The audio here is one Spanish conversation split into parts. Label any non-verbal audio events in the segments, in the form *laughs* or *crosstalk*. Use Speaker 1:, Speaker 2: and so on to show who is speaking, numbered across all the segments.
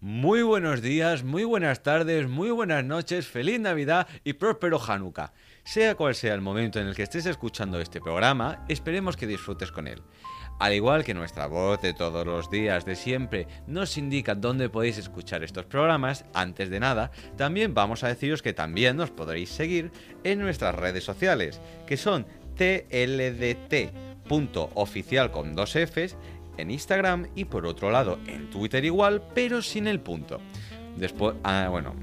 Speaker 1: Muy buenos días, muy buenas tardes, muy buenas noches, feliz Navidad y próspero Hanukkah. Sea cual sea el momento en el que estés escuchando este programa, esperemos que disfrutes con él. Al igual que nuestra voz de todos los días de siempre nos indica dónde podéis escuchar estos programas, antes de nada, también vamos a deciros que también nos podréis seguir en nuestras redes sociales, que son tldt.oficial con dos Fs en Instagram y por otro lado en Twitter igual, pero sin el punto. Después, ah, bueno,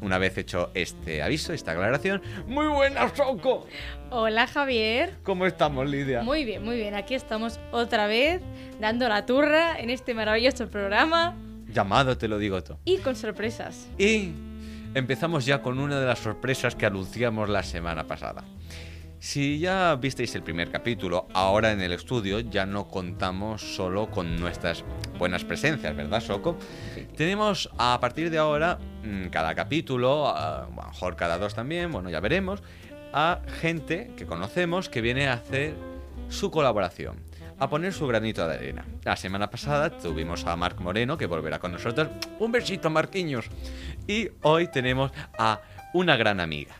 Speaker 1: una vez hecho este aviso, esta aclaración, muy buenas, Soco.
Speaker 2: Hola Javier.
Speaker 1: ¿Cómo estamos, Lidia?
Speaker 2: Muy bien, muy bien. Aquí estamos otra vez dando la turra en este maravilloso programa
Speaker 1: Llamado, te lo digo todo.
Speaker 2: y con sorpresas.
Speaker 1: Y empezamos ya con una de las sorpresas que anunciamos la semana pasada. Si ya visteis el primer capítulo, ahora en el estudio ya no contamos solo con nuestras buenas presencias, ¿verdad, Soco? Tenemos a partir de ahora, mm, cada capítulo, a a lo mejor cada dos también, bueno, ya veremos, a gente que conocemos que viene a hacer su colaboración, a poner su granito de arena. La semana pasada tuvimos a Marc Moreno, que volverá con nosotros. Un besito, Marquiños. Y hoy tenemos a una gran amiga.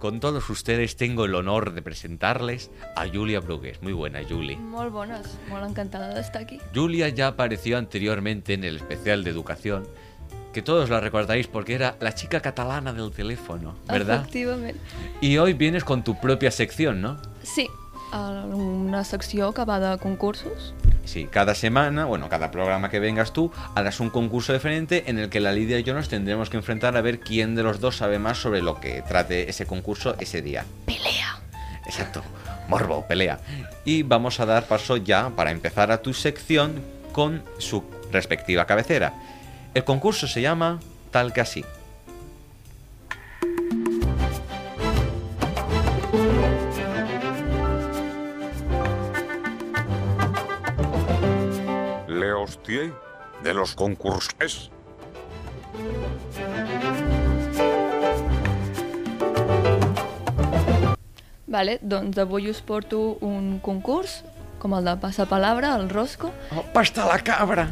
Speaker 1: Con todos ustedes tengo el honor de presentarles a Julia Brugues. Muy buena, Julie.
Speaker 3: Molt bones, molt encantada d'estar aquí.
Speaker 1: Julia ya apareció anteriormente en el especial de educación, que todos la recordaréis porque era la chica catalana del teléfono, ¿verdad?
Speaker 3: Efectivament.
Speaker 1: Y hoy vienes con tu propia sección, ¿no?
Speaker 3: Sí, a una secció que va de concursos.
Speaker 1: Sí, cada semana, bueno, cada programa que vengas tú, harás un concurso diferente en el que la Lidia y yo nos tendremos que enfrentar a ver quién de los dos sabe más sobre lo que trate ese concurso ese día.
Speaker 3: Pelea.
Speaker 1: Exacto, morbo, pelea. Y vamos a dar paso ya para empezar a tu sección con su respectiva cabecera. El concurso se llama Tal que así.
Speaker 4: Le hostié de los concursos.
Speaker 3: Vale, doncs avui us porto un concurs, com el de Passapalabra, el Rosco,
Speaker 1: ¡Oh, ¡Pasta la cabra!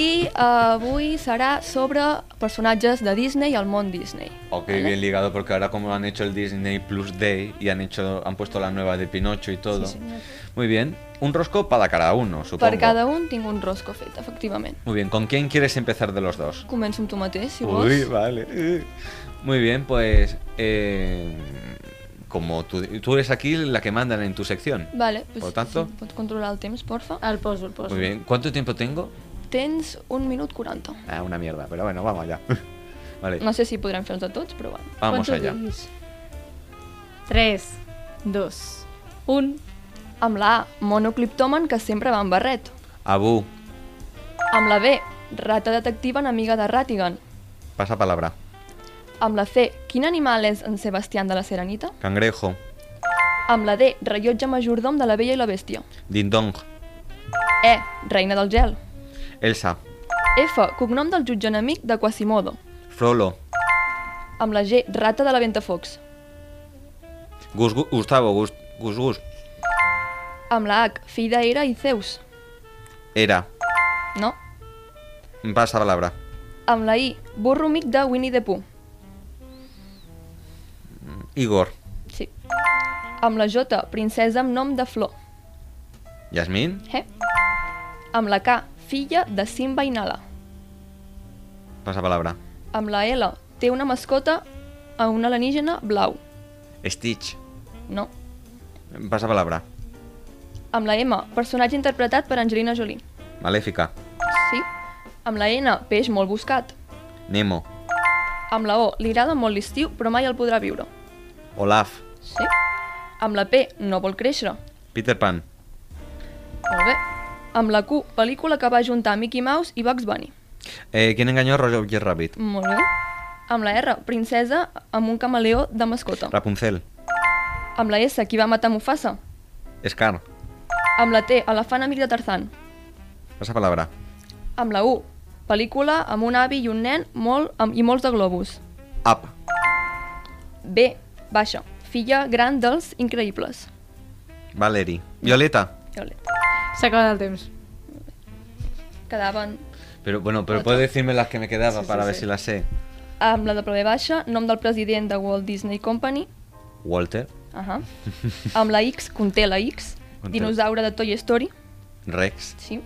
Speaker 3: i eh, avui serà sobre personatges de Disney i el món Disney.
Speaker 1: Ok,
Speaker 3: Vale.
Speaker 1: bien ligado porque ahora como han hecho el Disney Plus Day y han hecho han puesto la nueva de Pinocho y todo.
Speaker 3: Sí, señor.
Speaker 1: Muy bien, un rosco para cada uno, supongo.
Speaker 3: Per cada un tinc un Rosco fet, efectivament.
Speaker 1: Muy bien, ¿con quién quieres empezar de los dos?
Speaker 3: Començo amb tu mateix, si vols.
Speaker 1: Uy, vale. eh. Muy bien, pues eh, como tú, tú eres aquí la que mandan en tu sección.
Speaker 3: Vale, doncs,
Speaker 1: Por tanto-
Speaker 3: si pots controlar el temps, porfa.
Speaker 2: Al poso, al poso.
Speaker 1: Muy bien, ¿cuánto tiempo tengo?
Speaker 3: Tens un minut 40.
Speaker 1: Ah, una mierda, pero bueno, vamos
Speaker 3: *laughs*
Speaker 1: allá. Vale,
Speaker 3: No sé si podrem fer-los a tots, però bueno.
Speaker 1: vamos allá.
Speaker 2: 3, 2, 1.
Speaker 3: Amb la A, monocliptomen que sempre va amb barret.
Speaker 1: Abu,
Speaker 3: Amb la B, rata detectiva enemiga de Ratigan.
Speaker 1: pasa palabra.
Speaker 3: Amb la C, quin animal és en Sebastián de la Serenita?
Speaker 1: Cangrejo,
Speaker 3: Amb la D, rellotge majordom de la Bella i la Bèstia.
Speaker 1: Dindong,
Speaker 3: E, reina del gel.
Speaker 1: Elsa,
Speaker 3: F, cognom del jutge enemic de Quasimodo.
Speaker 1: Frollo,
Speaker 3: Amb la G, rata de la Ventafocs.
Speaker 1: Gus, Gu- Gustavo, Gus, Gus, Gus,
Speaker 3: Amb la H, fill d'Era i Zeus.
Speaker 1: Era,
Speaker 3: No.
Speaker 1: pasa palabra.
Speaker 3: Amb la I, burro mic de Winnie the Pooh.
Speaker 1: Igor,
Speaker 3: Sí. Amb la J, princesa amb nom de flor.
Speaker 1: Yasmín,
Speaker 3: Eh? Amb la K, filla de Simba i Nala.
Speaker 1: pasa palabra.
Speaker 3: Amb la L, té una mascota a un alienígena blau.
Speaker 1: Stitch,
Speaker 3: No.
Speaker 1: pasa palabra.
Speaker 3: Amb la M, personatge interpretat per Angelina Jolie.
Speaker 1: Maléfica,
Speaker 3: Sí. Amb la N, peix molt buscat.
Speaker 1: Nemo,
Speaker 3: Amb la O, li agrada molt l'estiu, però mai el podrà viure.
Speaker 1: Olaf,
Speaker 3: Sí. Amb la P, no vol créixer.
Speaker 1: Peter Pan.
Speaker 3: Molt bé. Amb la Q, pel·lícula que va juntar Mickey Mouse i Bugs Bunny.
Speaker 1: Eh, ¿Quién engañó a Roger Rabbit?
Speaker 3: Molt bé. Amb la R, princesa amb un camaleó de mascota.
Speaker 1: Rapunzel.
Speaker 3: Amb la S, qui va matar Mufasa.
Speaker 1: Scar.
Speaker 3: Amb la T, elefant amic de Tarzan.
Speaker 1: Pasa palabra.
Speaker 3: Amb la U, pel·lícula amb un avi i un nen molt, amb, i molts de globus.
Speaker 1: Up.
Speaker 3: B, baixa, filla gran dels increïbles.
Speaker 1: Valerie. Violeta.
Speaker 3: Ole.
Speaker 2: S'ha acabat el temps.
Speaker 3: Quedaven
Speaker 1: Pero bueno, pero
Speaker 3: Otra.
Speaker 1: puedes decirme las que me quedaba
Speaker 3: Sí,
Speaker 1: para
Speaker 3: sí,
Speaker 1: ver
Speaker 3: sí.
Speaker 1: si las sé.
Speaker 3: amb la W baixa, nom del president de Walt Disney Company,
Speaker 1: Walter. *laughs*
Speaker 3: uh -huh. amb la X, conté la X,
Speaker 1: Conté.
Speaker 3: dinosaure de Toy Story,
Speaker 1: Rex.
Speaker 3: sí.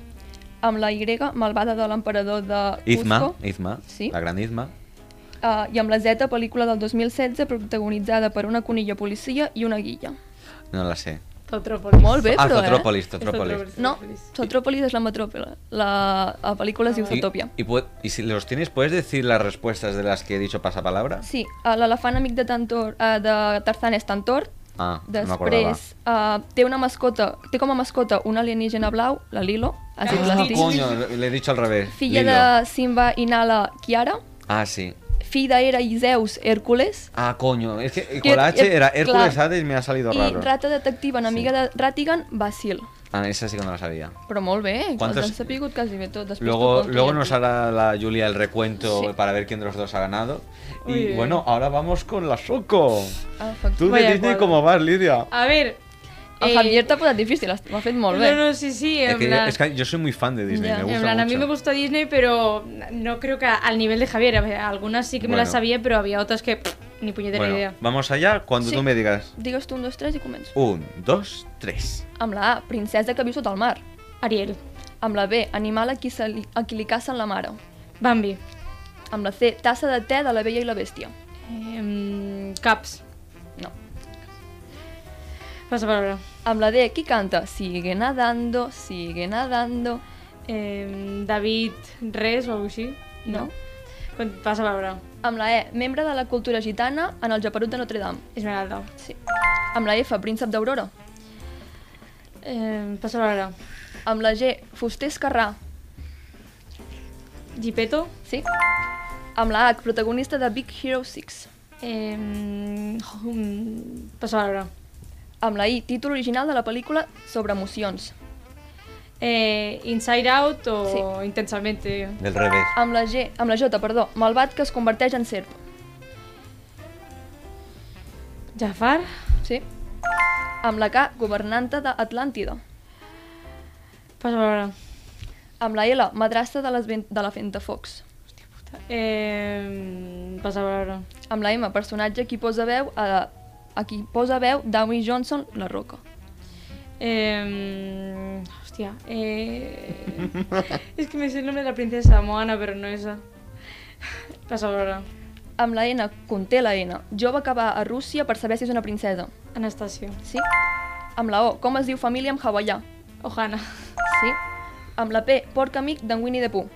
Speaker 3: amb la Y, malvada de l'emperador de
Speaker 1: Izma.
Speaker 3: Cusco,
Speaker 1: Izma.
Speaker 3: Sí.
Speaker 1: La gran Izma.
Speaker 3: eh, i amb la Z, pel·lícula del 2016, protagonitzada per una conilla policia i una guilla.
Speaker 1: No la sé.
Speaker 2: Zotrópolis.
Speaker 3: Molt bé,
Speaker 1: ah,
Speaker 3: però,
Speaker 1: Zotrópolis,
Speaker 3: eh?
Speaker 1: Zotrópolis.
Speaker 3: No, Zotrópolis és la metròpola. La, la pel·lícula es diu
Speaker 1: Y,
Speaker 3: Zootopia.
Speaker 1: y pu- y si los tienes, ¿puedes decir las respuestas de las que he dicho pasapalabra?
Speaker 3: Sí, eh, l'elefant amic de, Tantor, eh, de Tarzan és Tantor.
Speaker 1: Ah, no me acordaba.
Speaker 3: Després eh, té una mascota, té com a mascota un alienígena blau, la Lilo, has dit
Speaker 1: Ah,
Speaker 3: l'estic.
Speaker 1: coño, le he dicho al revés.
Speaker 3: Filla
Speaker 1: Lilo.
Speaker 3: de Simba i Nala, Kiara.
Speaker 1: Ah, sí.
Speaker 3: Fill d'Hera i Zeus, Hércules.
Speaker 1: Ah, coño. Es que
Speaker 3: Que-
Speaker 1: con la H
Speaker 3: eh,
Speaker 1: era Hércules
Speaker 3: claro.
Speaker 1: Hades y me ha salido
Speaker 3: I
Speaker 1: raro.
Speaker 3: rata detectiva, enemiga
Speaker 1: Sí.
Speaker 3: de Ratigan, Basil.
Speaker 1: Ah, esa sí que no la sabía.
Speaker 3: Però molt bé, eh?
Speaker 1: ¿Cuántos-
Speaker 3: els has sapigut quasi bé tot. Després t'ho
Speaker 1: Luego,
Speaker 3: conto
Speaker 1: luego
Speaker 3: jo.
Speaker 1: nos hará la Julia el recuento
Speaker 3: Sí.
Speaker 1: para ver quién de los dos ha ganado. Y
Speaker 2: Muy bien.
Speaker 1: bueno, ahora vamos con la Soco.
Speaker 3: Ah, efectivament.
Speaker 1: Tú
Speaker 2: Vaya
Speaker 1: de Disney,
Speaker 2: cuadro.
Speaker 1: ¿cómo vas, Lidia?
Speaker 2: A ver...
Speaker 3: El
Speaker 2: eh,
Speaker 3: Javier t'ha posat difícil, has- m'ha fet molt bé.
Speaker 2: No, no, sí, sí,
Speaker 1: Es
Speaker 2: en
Speaker 1: que, yo,
Speaker 2: plan...
Speaker 1: es que yo soy muy fan de Disney,
Speaker 3: Ya.
Speaker 1: me
Speaker 3: En
Speaker 1: gusta
Speaker 2: en plan, a mí
Speaker 1: mucho.
Speaker 2: me gustó Disney, pero no creo que al nivel de Javier. Algunas sí que me
Speaker 1: Bueno.
Speaker 2: las sabía, pero había otras que pff, ni puñetera
Speaker 1: Bueno,
Speaker 2: idea.
Speaker 1: vamos allá cuando
Speaker 3: Sí.
Speaker 1: tú me digas.
Speaker 3: Digues tu un, dos, tres i començo.
Speaker 1: Un, dos, tres.
Speaker 3: Amb la A, princesa que viu sota el mar.
Speaker 2: Ariel,
Speaker 3: Amb la B, animal a qui, se li, a qui li cacen la mare.
Speaker 2: Bambi,
Speaker 3: Amb la C, tassa de te de la vella i la bèstia.
Speaker 2: em, Caps,
Speaker 3: No.
Speaker 2: pasa palabra.
Speaker 3: Amb la D, qui canta? Sigue nadando, sigue nadando.
Speaker 2: Em, David Res o algo así.
Speaker 3: No.
Speaker 2: Con- Pasa palabra.
Speaker 3: Amb la E, membre de la cultura gitana en el Japerut de Notre Dame.
Speaker 2: Esmeralda.
Speaker 3: Sí. Amb la F, príncep d'Aurora.
Speaker 2: Em, pasa palabra.
Speaker 3: Amb la G, fuster esquerrà.
Speaker 2: Gipeto.
Speaker 3: Sí. Amb la H, protagonista de Big Hero 6.
Speaker 2: Em, jum, pasa palabra.
Speaker 3: Amb la I, títol original de la pel·lícula sobre emocions.
Speaker 2: Eh, Inside Out o Intensamente.
Speaker 1: Del revés.
Speaker 3: Amb la G, amb la J, perdó, malvat que es converteix en serp.
Speaker 2: Jafar.
Speaker 3: Sí. Amb la K, governanta d'Atlàntida.
Speaker 2: Pasa palabra.
Speaker 3: Amb la L, madrastra de, les ven- de la Fentafox.
Speaker 2: Em, pasa palabra.
Speaker 3: Amb la M, personatge qui posa veu a, a qui posa veu Downey Johnson, la roca.
Speaker 2: Eh, hostia. eh, es que me sé el nombre de la princesa Moana, pero no esa. Pasa ahora.
Speaker 3: Amb la N, conté la N, jove que va a Rússia per saber si és una princesa.
Speaker 2: Anastasio.
Speaker 3: Sí. Amb la O, com es diu família en hawaià.
Speaker 2: Ohana.
Speaker 3: Sí. Amb la P, porc amic d'en Winnie the Pooh.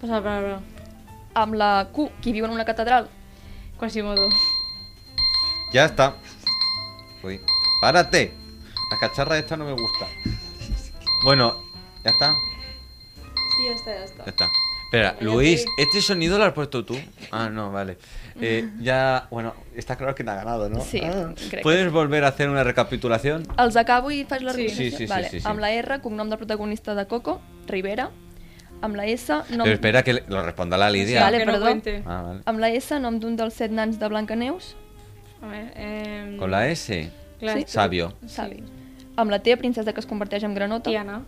Speaker 2: Pasa la palabra.
Speaker 3: Amb la Q, qui viu en una catedral.
Speaker 2: Quasimodo.
Speaker 1: Ya está. Uy. ¡Párate! La cacharra esta no me gusta. Bueno, ya está.
Speaker 2: Sí, ya está, ya está.
Speaker 1: Ya está. Espera, Luis, ¿este sonido lo has puesto tú? Ah, no, vale. Eh,
Speaker 3: *laughs*
Speaker 1: ya, bueno, está claro que te ha ganado, ¿no?
Speaker 3: Sí,
Speaker 1: Ah.
Speaker 3: crec que
Speaker 1: ¿Puedes volver a hacer una recapitulación?
Speaker 3: Els acabo i faig la
Speaker 2: Sí.
Speaker 1: Sí,
Speaker 3: recomanació?
Speaker 1: sí, sí,
Speaker 3: vale.
Speaker 1: sí, sí.
Speaker 3: Amb la R, cognom del protagonista de Coco, Rivera. Amb la S, nom...
Speaker 1: Pero espera que le- lo responda la Lidia.
Speaker 3: Vale,
Speaker 2: Que no
Speaker 3: perdó.
Speaker 2: cuente.
Speaker 1: Ah, vale.
Speaker 3: Amb la S, nom d'un dels set nans de Blancaneus.
Speaker 2: A ver,
Speaker 3: Um,
Speaker 2: em,
Speaker 1: Con la S.
Speaker 2: claro,
Speaker 3: Sí.
Speaker 1: Sabio.
Speaker 3: Sabi. Amb la T, princesa que es converteix en granota.
Speaker 2: Tiana.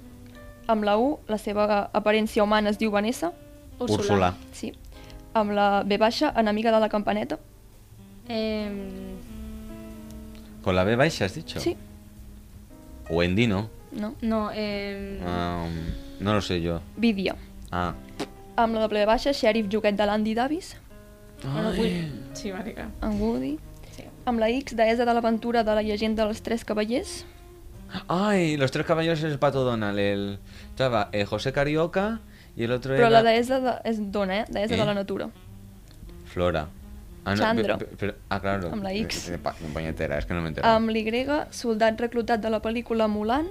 Speaker 3: Amb la U, la seva aparència humana es diu Vanessa.
Speaker 1: Úrsula.
Speaker 3: Sí. Amb la B baixa, enemiga de la campaneta.
Speaker 2: Em,
Speaker 1: Con la B baixa, has dicho.
Speaker 3: Sí.
Speaker 1: Wendy, ¿no?
Speaker 3: No.
Speaker 2: no, em,
Speaker 1: Ah, no lo sé yo.
Speaker 3: Vídia.
Speaker 1: Ah.
Speaker 3: Amb la W baixa, xèrif joguet de l'Andy Davis.
Speaker 2: Sí, marica.
Speaker 3: En Woody.
Speaker 2: Sí.
Speaker 3: Amb la X, deessa de l'aventura de la llegenda dels tres cavallers.
Speaker 1: Ay, los tres caballeros es el pato Donald. El... Estaba eh, José Carioca y el otro
Speaker 3: Però
Speaker 1: era
Speaker 3: la deessa de... és dona, eh? Deessa
Speaker 1: Eh?
Speaker 3: de la natura.
Speaker 1: Flora. Ah, no,
Speaker 3: Chandro.
Speaker 1: pe- pe- però- ah, claro.
Speaker 3: Amb la X. Um,
Speaker 1: Eh, pa- Punyetera, és que no m'he enterat.
Speaker 3: Amb l'Y, soldat reclutat de la pel·lícula Mulan.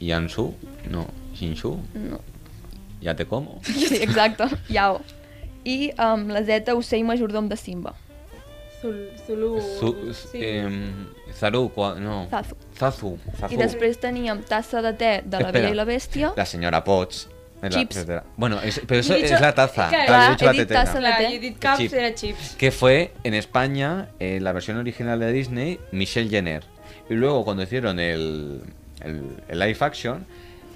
Speaker 1: Yansu? No. Shinshu?
Speaker 3: No. *laughs*
Speaker 1: Ja te como?
Speaker 3: Sí, exacte, Yao. I amb la Z, ocell majordom de Simba.
Speaker 2: Zul- Zulu.
Speaker 1: Su,
Speaker 2: sí.
Speaker 1: em, Zaru, cua- no.
Speaker 3: Zazu.
Speaker 1: Zazu. Zazu.
Speaker 3: I després teníem tassa de te de la
Speaker 1: Espera.
Speaker 3: Bella i la Bèstia.
Speaker 1: La senyora Potts. Es la-
Speaker 3: Chips.
Speaker 1: etcétera. Bueno, es- pero eso
Speaker 2: Yo he dicho-
Speaker 1: es la taza. Claro,
Speaker 2: claro,
Speaker 1: yo he
Speaker 3: he
Speaker 1: dicho la
Speaker 3: dicho
Speaker 1: tetera.
Speaker 3: taza,
Speaker 2: La
Speaker 3: Chocolate.
Speaker 2: Ah, Judith Cups
Speaker 1: Chip.
Speaker 2: era chips.
Speaker 1: Que fue en España, en la versión original de Disney, Michelle Jenner. Y luego cuando hicieron el, el, el live action,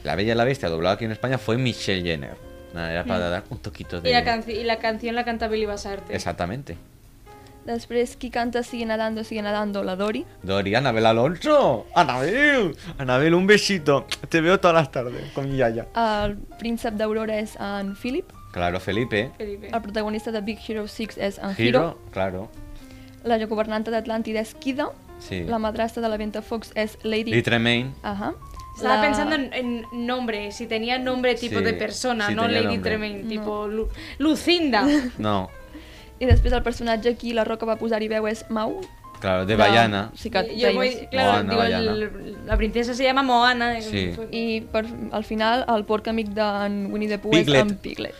Speaker 1: La Bella y la Bestia doblada aquí en España fue Michelle Jenner. Nada, era para dar un toquito de...
Speaker 2: Y la, canci- y la canción la canta Billy Basarte.
Speaker 1: Exactamente.
Speaker 3: Després, qui canta Sigue nadando, sigue nadando, la Dori.
Speaker 1: Dori, Anabel Alonso. Anabel. Anabel, un besito. Te veo todas las tardes con mi yaya.
Speaker 3: El príncep d'Aurora és en Philip.
Speaker 1: Claro, Felipe.
Speaker 2: Felipe.
Speaker 3: El protagonista de Big Hero 6 és en Hiro.
Speaker 1: Giro, claro.
Speaker 3: La governanta d'Atlàntida és Kida.
Speaker 1: Sí.
Speaker 3: La madrastra de la Ventafocs és Lady...
Speaker 1: Y Tremaine.
Speaker 3: Ajá.
Speaker 2: Estaba
Speaker 3: La-
Speaker 2: pensando en, en nombre, si tenía nombre tipo
Speaker 1: Sí,
Speaker 2: de persona,
Speaker 1: sí
Speaker 2: no
Speaker 1: tenía
Speaker 2: Lady
Speaker 1: nombre.
Speaker 2: Tremaine, tipo Lu- *laughs* Lucinda.
Speaker 1: No,
Speaker 3: I després el personatge a qui la Roca va posar-hi veu és Mau.
Speaker 1: claro, de
Speaker 3: la
Speaker 1: Bayana.
Speaker 3: Sí que
Speaker 2: Eh, Yo voy,
Speaker 3: deies.
Speaker 2: claro,
Speaker 1: Moana,
Speaker 2: digo,
Speaker 1: Bayana.
Speaker 2: el- la princesa se llama Moana. eh,
Speaker 1: Sí.
Speaker 3: I per, al final el porc amic d'en Winnie the Pooh
Speaker 1: Piglet.
Speaker 3: és en Piglet.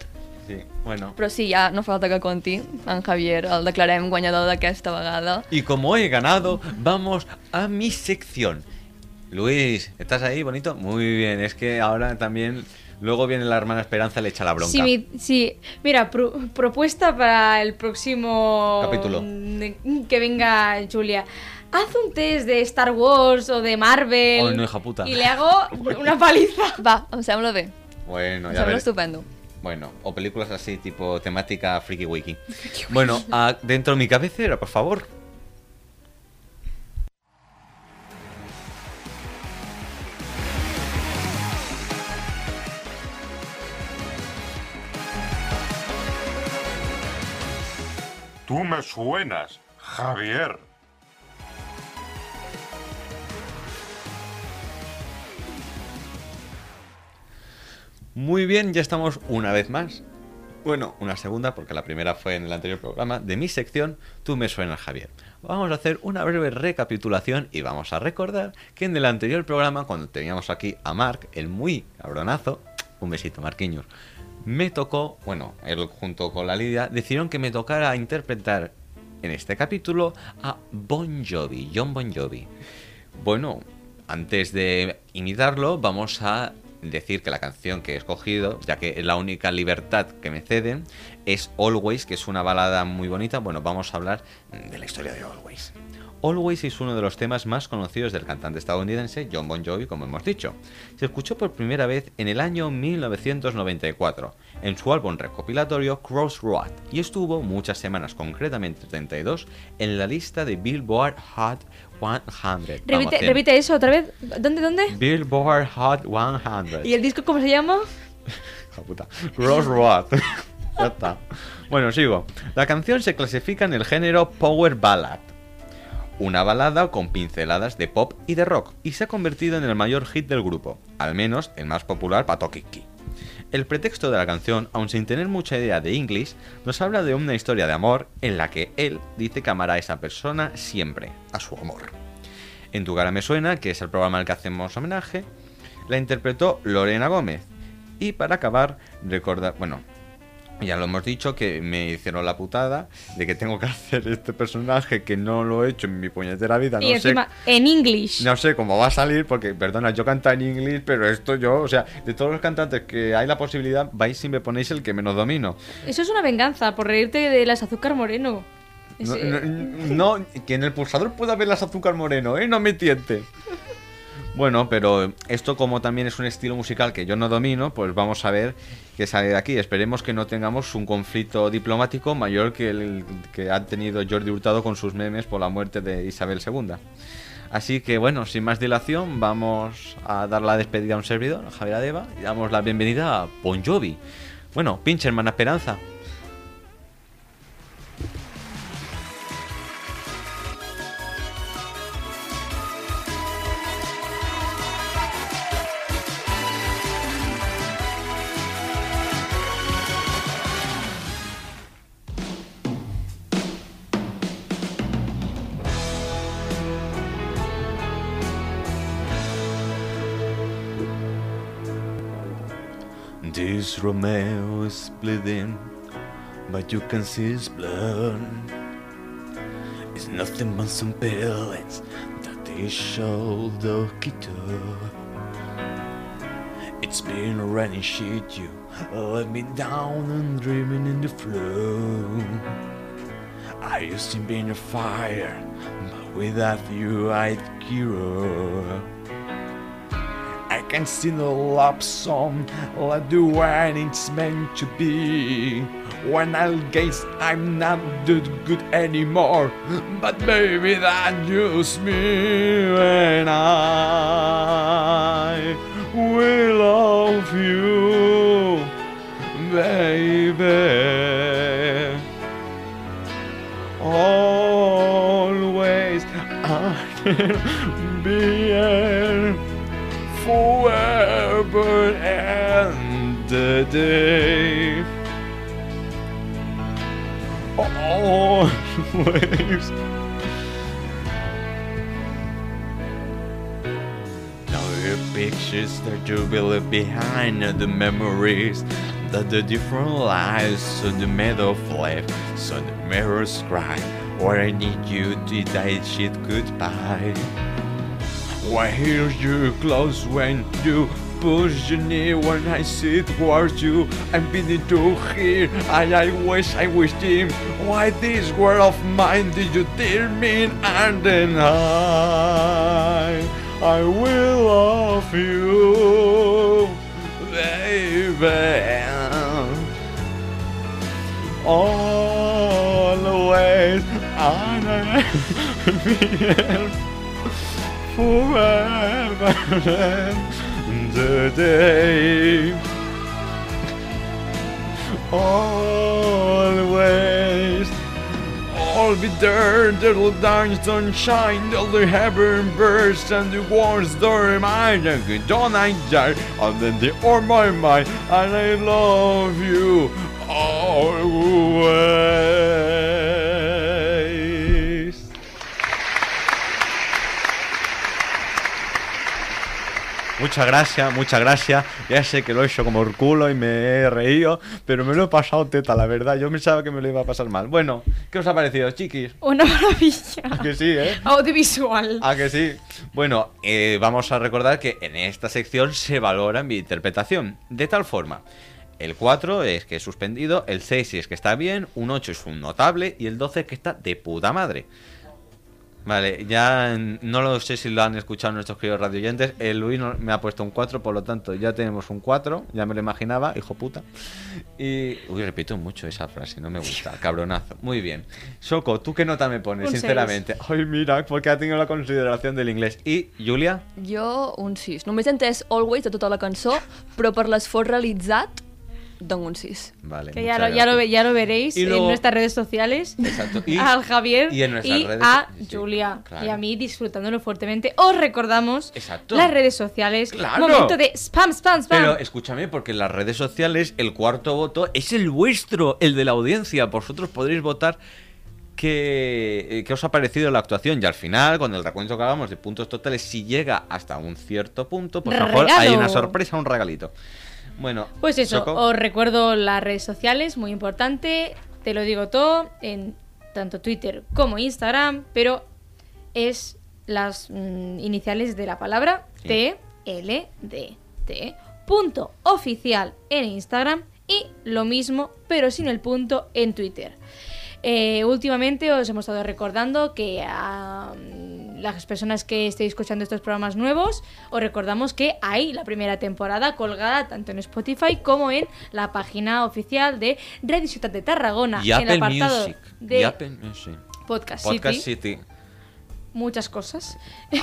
Speaker 1: Sí, bueno.
Speaker 3: Però sí, ja no falta que conti. En Javier el declarem guanyador d'aquesta vegada.
Speaker 1: Y como he ganado, vamos a mi sección. Luis, ¿estás ahí, bonito? Muy bien, es que ahora también. Luego viene la hermana Esperanza y le echa la bronca.
Speaker 2: Sí, mi- sí. mira, pro- propuesta para el próximo
Speaker 1: Capítulo.
Speaker 2: mm, que venga Julia. Haz un test de Star Wars o de Marvel.
Speaker 1: Ay, Oh, no, hija puta.
Speaker 2: Y
Speaker 1: *laughs*
Speaker 2: le hago una paliza.
Speaker 3: Va, em sembla bé.
Speaker 1: Bueno,
Speaker 3: em
Speaker 1: ya
Speaker 3: sembla
Speaker 1: veré.
Speaker 3: estupendo.
Speaker 1: Bueno, o películas así, tipo temática friki wiki. Bueno, a- dentro de mi cabecera, por favor.
Speaker 4: Tú me suenas, Javier.
Speaker 1: Muy bien, ya estamos una vez más. Bueno, una segunda, porque la primera fue en el anterior programa, de mi sección Tú me suenas, Javier. Vamos a hacer una breve recapitulación y vamos a recordar que en el anterior programa, cuando teníamos aquí a Mark, el muy cabronazo, un besito, Marquinhos, me tocó, bueno, él junto con la Lidia, decidieron que me tocara interpretar en este capítulo a Bon Jovi, John Bon Jovi. Bueno, antes de imitarlo, vamos a decir que la canción que he escogido, ya que es la única libertad que me ceden, es Always, que es una balada muy bonita. Bueno, vamos a hablar de la historia de Always. Always es uno de los temas más conocidos del cantante estadounidense John Bon Jovi, como hemos dicho. Se escuchó por primera vez en el año 1994, en su álbum recopilatorio Crossroad, y estuvo muchas semanas, concretamente 32, en la lista de Billboard Hot 100. Vamos,
Speaker 2: Repite,
Speaker 1: 100.
Speaker 2: repite eso otra vez. ¿Dónde, dónde?
Speaker 1: Billboard Hot 100.
Speaker 2: ¿Y el disco cómo se llama?
Speaker 1: Hija puta. Crossroad. *laughs* ya está. Bueno, sigo. La canción se clasifica en el género Power Ballad. Una balada con pinceladas de pop y de rock, y se ha convertido en el mayor hit del grupo, al menos el más popular para Tokiki. El pretexto de la canción, aun sin tener mucha idea de inglés, nos habla de una historia de amor en la que él dice que amará a esa persona siempre, a su amor. En Tu cara me suena, que es el programa al que hacemos homenaje, la interpretó Lorena Gómez. Y para acabar, recordar, bueno, ya lo hemos dicho que me hicieron la putada de que tengo que *laughs* hacer este personaje que no lo he hecho en mi puñetera vida,
Speaker 2: y
Speaker 1: Ah, no sé
Speaker 2: encima, en English.
Speaker 1: no sé cómo va a salir, porque, perdona, yo canto en inglés, pero esto yo, o sea, de todos los cantantes que hay la posibilidad, vais y me ponéis el que menos domino.
Speaker 2: Eso es una venganza por reírte de las azúcar moreno. Es,
Speaker 1: No,
Speaker 2: eh,
Speaker 1: no- no, que en el pulsador pueda ver las azúcar moreno, ¿eh? No me tiente. Bueno, pero esto como también es un estilo musical que yo no domino, pues vamos a ver qué sale de aquí. Esperemos que no tengamos un conflicto diplomático mayor que el que ha tenido Jordi Hurtado con sus memes por la muerte de Isabel II. Así que bueno, sin más dilación, vamos a dar la despedida a un servidor, a Javier Adeva, y damos la bienvenida a Bon Jovi. Bueno, pinche hermana Esperanza, This Romeo is bleeding, but you can see his blood. It's nothing but some pellets that they showed the kiddo. It's been raining shit, you let me down and dreaming in the flow. I used to be in a fire, but without you I'd cure. I can sing a love song like the one it's meant to be. When I guess I'm not that good anymore, but maybe that just me and I will love you, baby. Always I'll be here forever and the day. *laughs* Always. Now your pictures that you will leave behind are the memories that the different lives so the meadow of life, so the mirrors cry. Where I need you did I shit goodbye. Why hear you close when you push your knee when I sit towards you? I'm beginning to hear, and I wish I wished him. Why this world of mine did you tear me in? and then I, I will love you, baby *laughs* always and I will forever and the day always all be there the little sunshine all the heaven burst and the wars door remind and good dawn I die and then the or my mind and I love you always Muchas gracias, muchas gracias. Ya sé que lo he hecho como el culo y me he reído, pero me lo he pasado teta, la verdad. Yo pensaba que me lo iba a pasar mal. Bueno, ¿qué os ha parecido, chiquis?
Speaker 2: Una *laughs* maravilla.
Speaker 1: Que sí, ¿eh?
Speaker 2: Audiovisual.
Speaker 1: Ah, que sí. Bueno, eh, vamos a recordar que en esta sección se valora mi interpretación. De tal forma, el 4 es que es suspendido, el 6 es que está bien, un 8 es un notable y el 12 es que está de puta madre. Vale, ya no lo sé si lo han escuchado nuestros queridos radioyentes. El Luis no- me ha puesto un 4, por lo tanto ya tenemos un 4. Ya me lo imaginaba, hijo puta. Y. Uy, repito mucho esa frase, no me
Speaker 2: *laughs*
Speaker 1: gusta, cabronazo. Muy bien. Soco, ¿tú qué nota me pones,
Speaker 2: Un seis.
Speaker 1: sinceramente? Ay, mira, porque ha tenido la consideración del inglés. ¿Y Julia?
Speaker 3: Jo, un 6. Només he entès Always de tota la cançó, però per l'esforç realitzat, dono un 6.
Speaker 1: Vale.
Speaker 2: Que ya
Speaker 1: muchas
Speaker 2: lo, ya, lo,
Speaker 1: gracias.
Speaker 2: ve- ya lo veréis
Speaker 1: Y
Speaker 2: en
Speaker 1: luego-
Speaker 2: nuestras redes sociales.
Speaker 1: Exacto. Y-
Speaker 2: *laughs* al Javier
Speaker 1: y en nuestras redes
Speaker 2: a
Speaker 1: so- sí,
Speaker 2: Julia
Speaker 1: claro.
Speaker 2: y a mí disfrutándolo fuertemente. Os recordamos
Speaker 1: Exacto.
Speaker 2: las redes sociales.
Speaker 1: Claro.
Speaker 2: Momento de spam, spam, spam.
Speaker 1: Pero escúchame, porque en las redes sociales el cuarto voto es el vuestro, el de la audiencia. Vosotros podréis votar qué, eh, qué os ha parecido la actuación. Y al final, con el recuento que hagamos de puntos totales, si llega hasta un cierto punto, pues a lo mejor hay
Speaker 2: Regalo.
Speaker 1: una sorpresa, un regalito. Bueno,
Speaker 2: Pues eso,
Speaker 1: Soco,
Speaker 2: os recuerdo las redes sociales, muy importante, te lo digo todo, en tanto Twitter como Instagram, pero es las mm, iniciales de la palabra
Speaker 1: Sí.
Speaker 2: T L D T punto oficial en Instagram y lo mismo pero sin el punto en Twitter. Eh, últimamente os hemos estado recordando que a mm, las personas que estéis escuchando estos programas nuevos, os recordamos que hay la primera temporada colgada tanto en Spotify como en la página oficial de Radio Ciutat de Tarragona,
Speaker 1: y
Speaker 2: en el
Speaker 1: Apple
Speaker 2: apartado
Speaker 1: Music.
Speaker 2: de
Speaker 1: Y Apple Music.
Speaker 2: Podcast,
Speaker 1: Podcast
Speaker 2: City
Speaker 1: City.
Speaker 2: muchas cosas *laughs*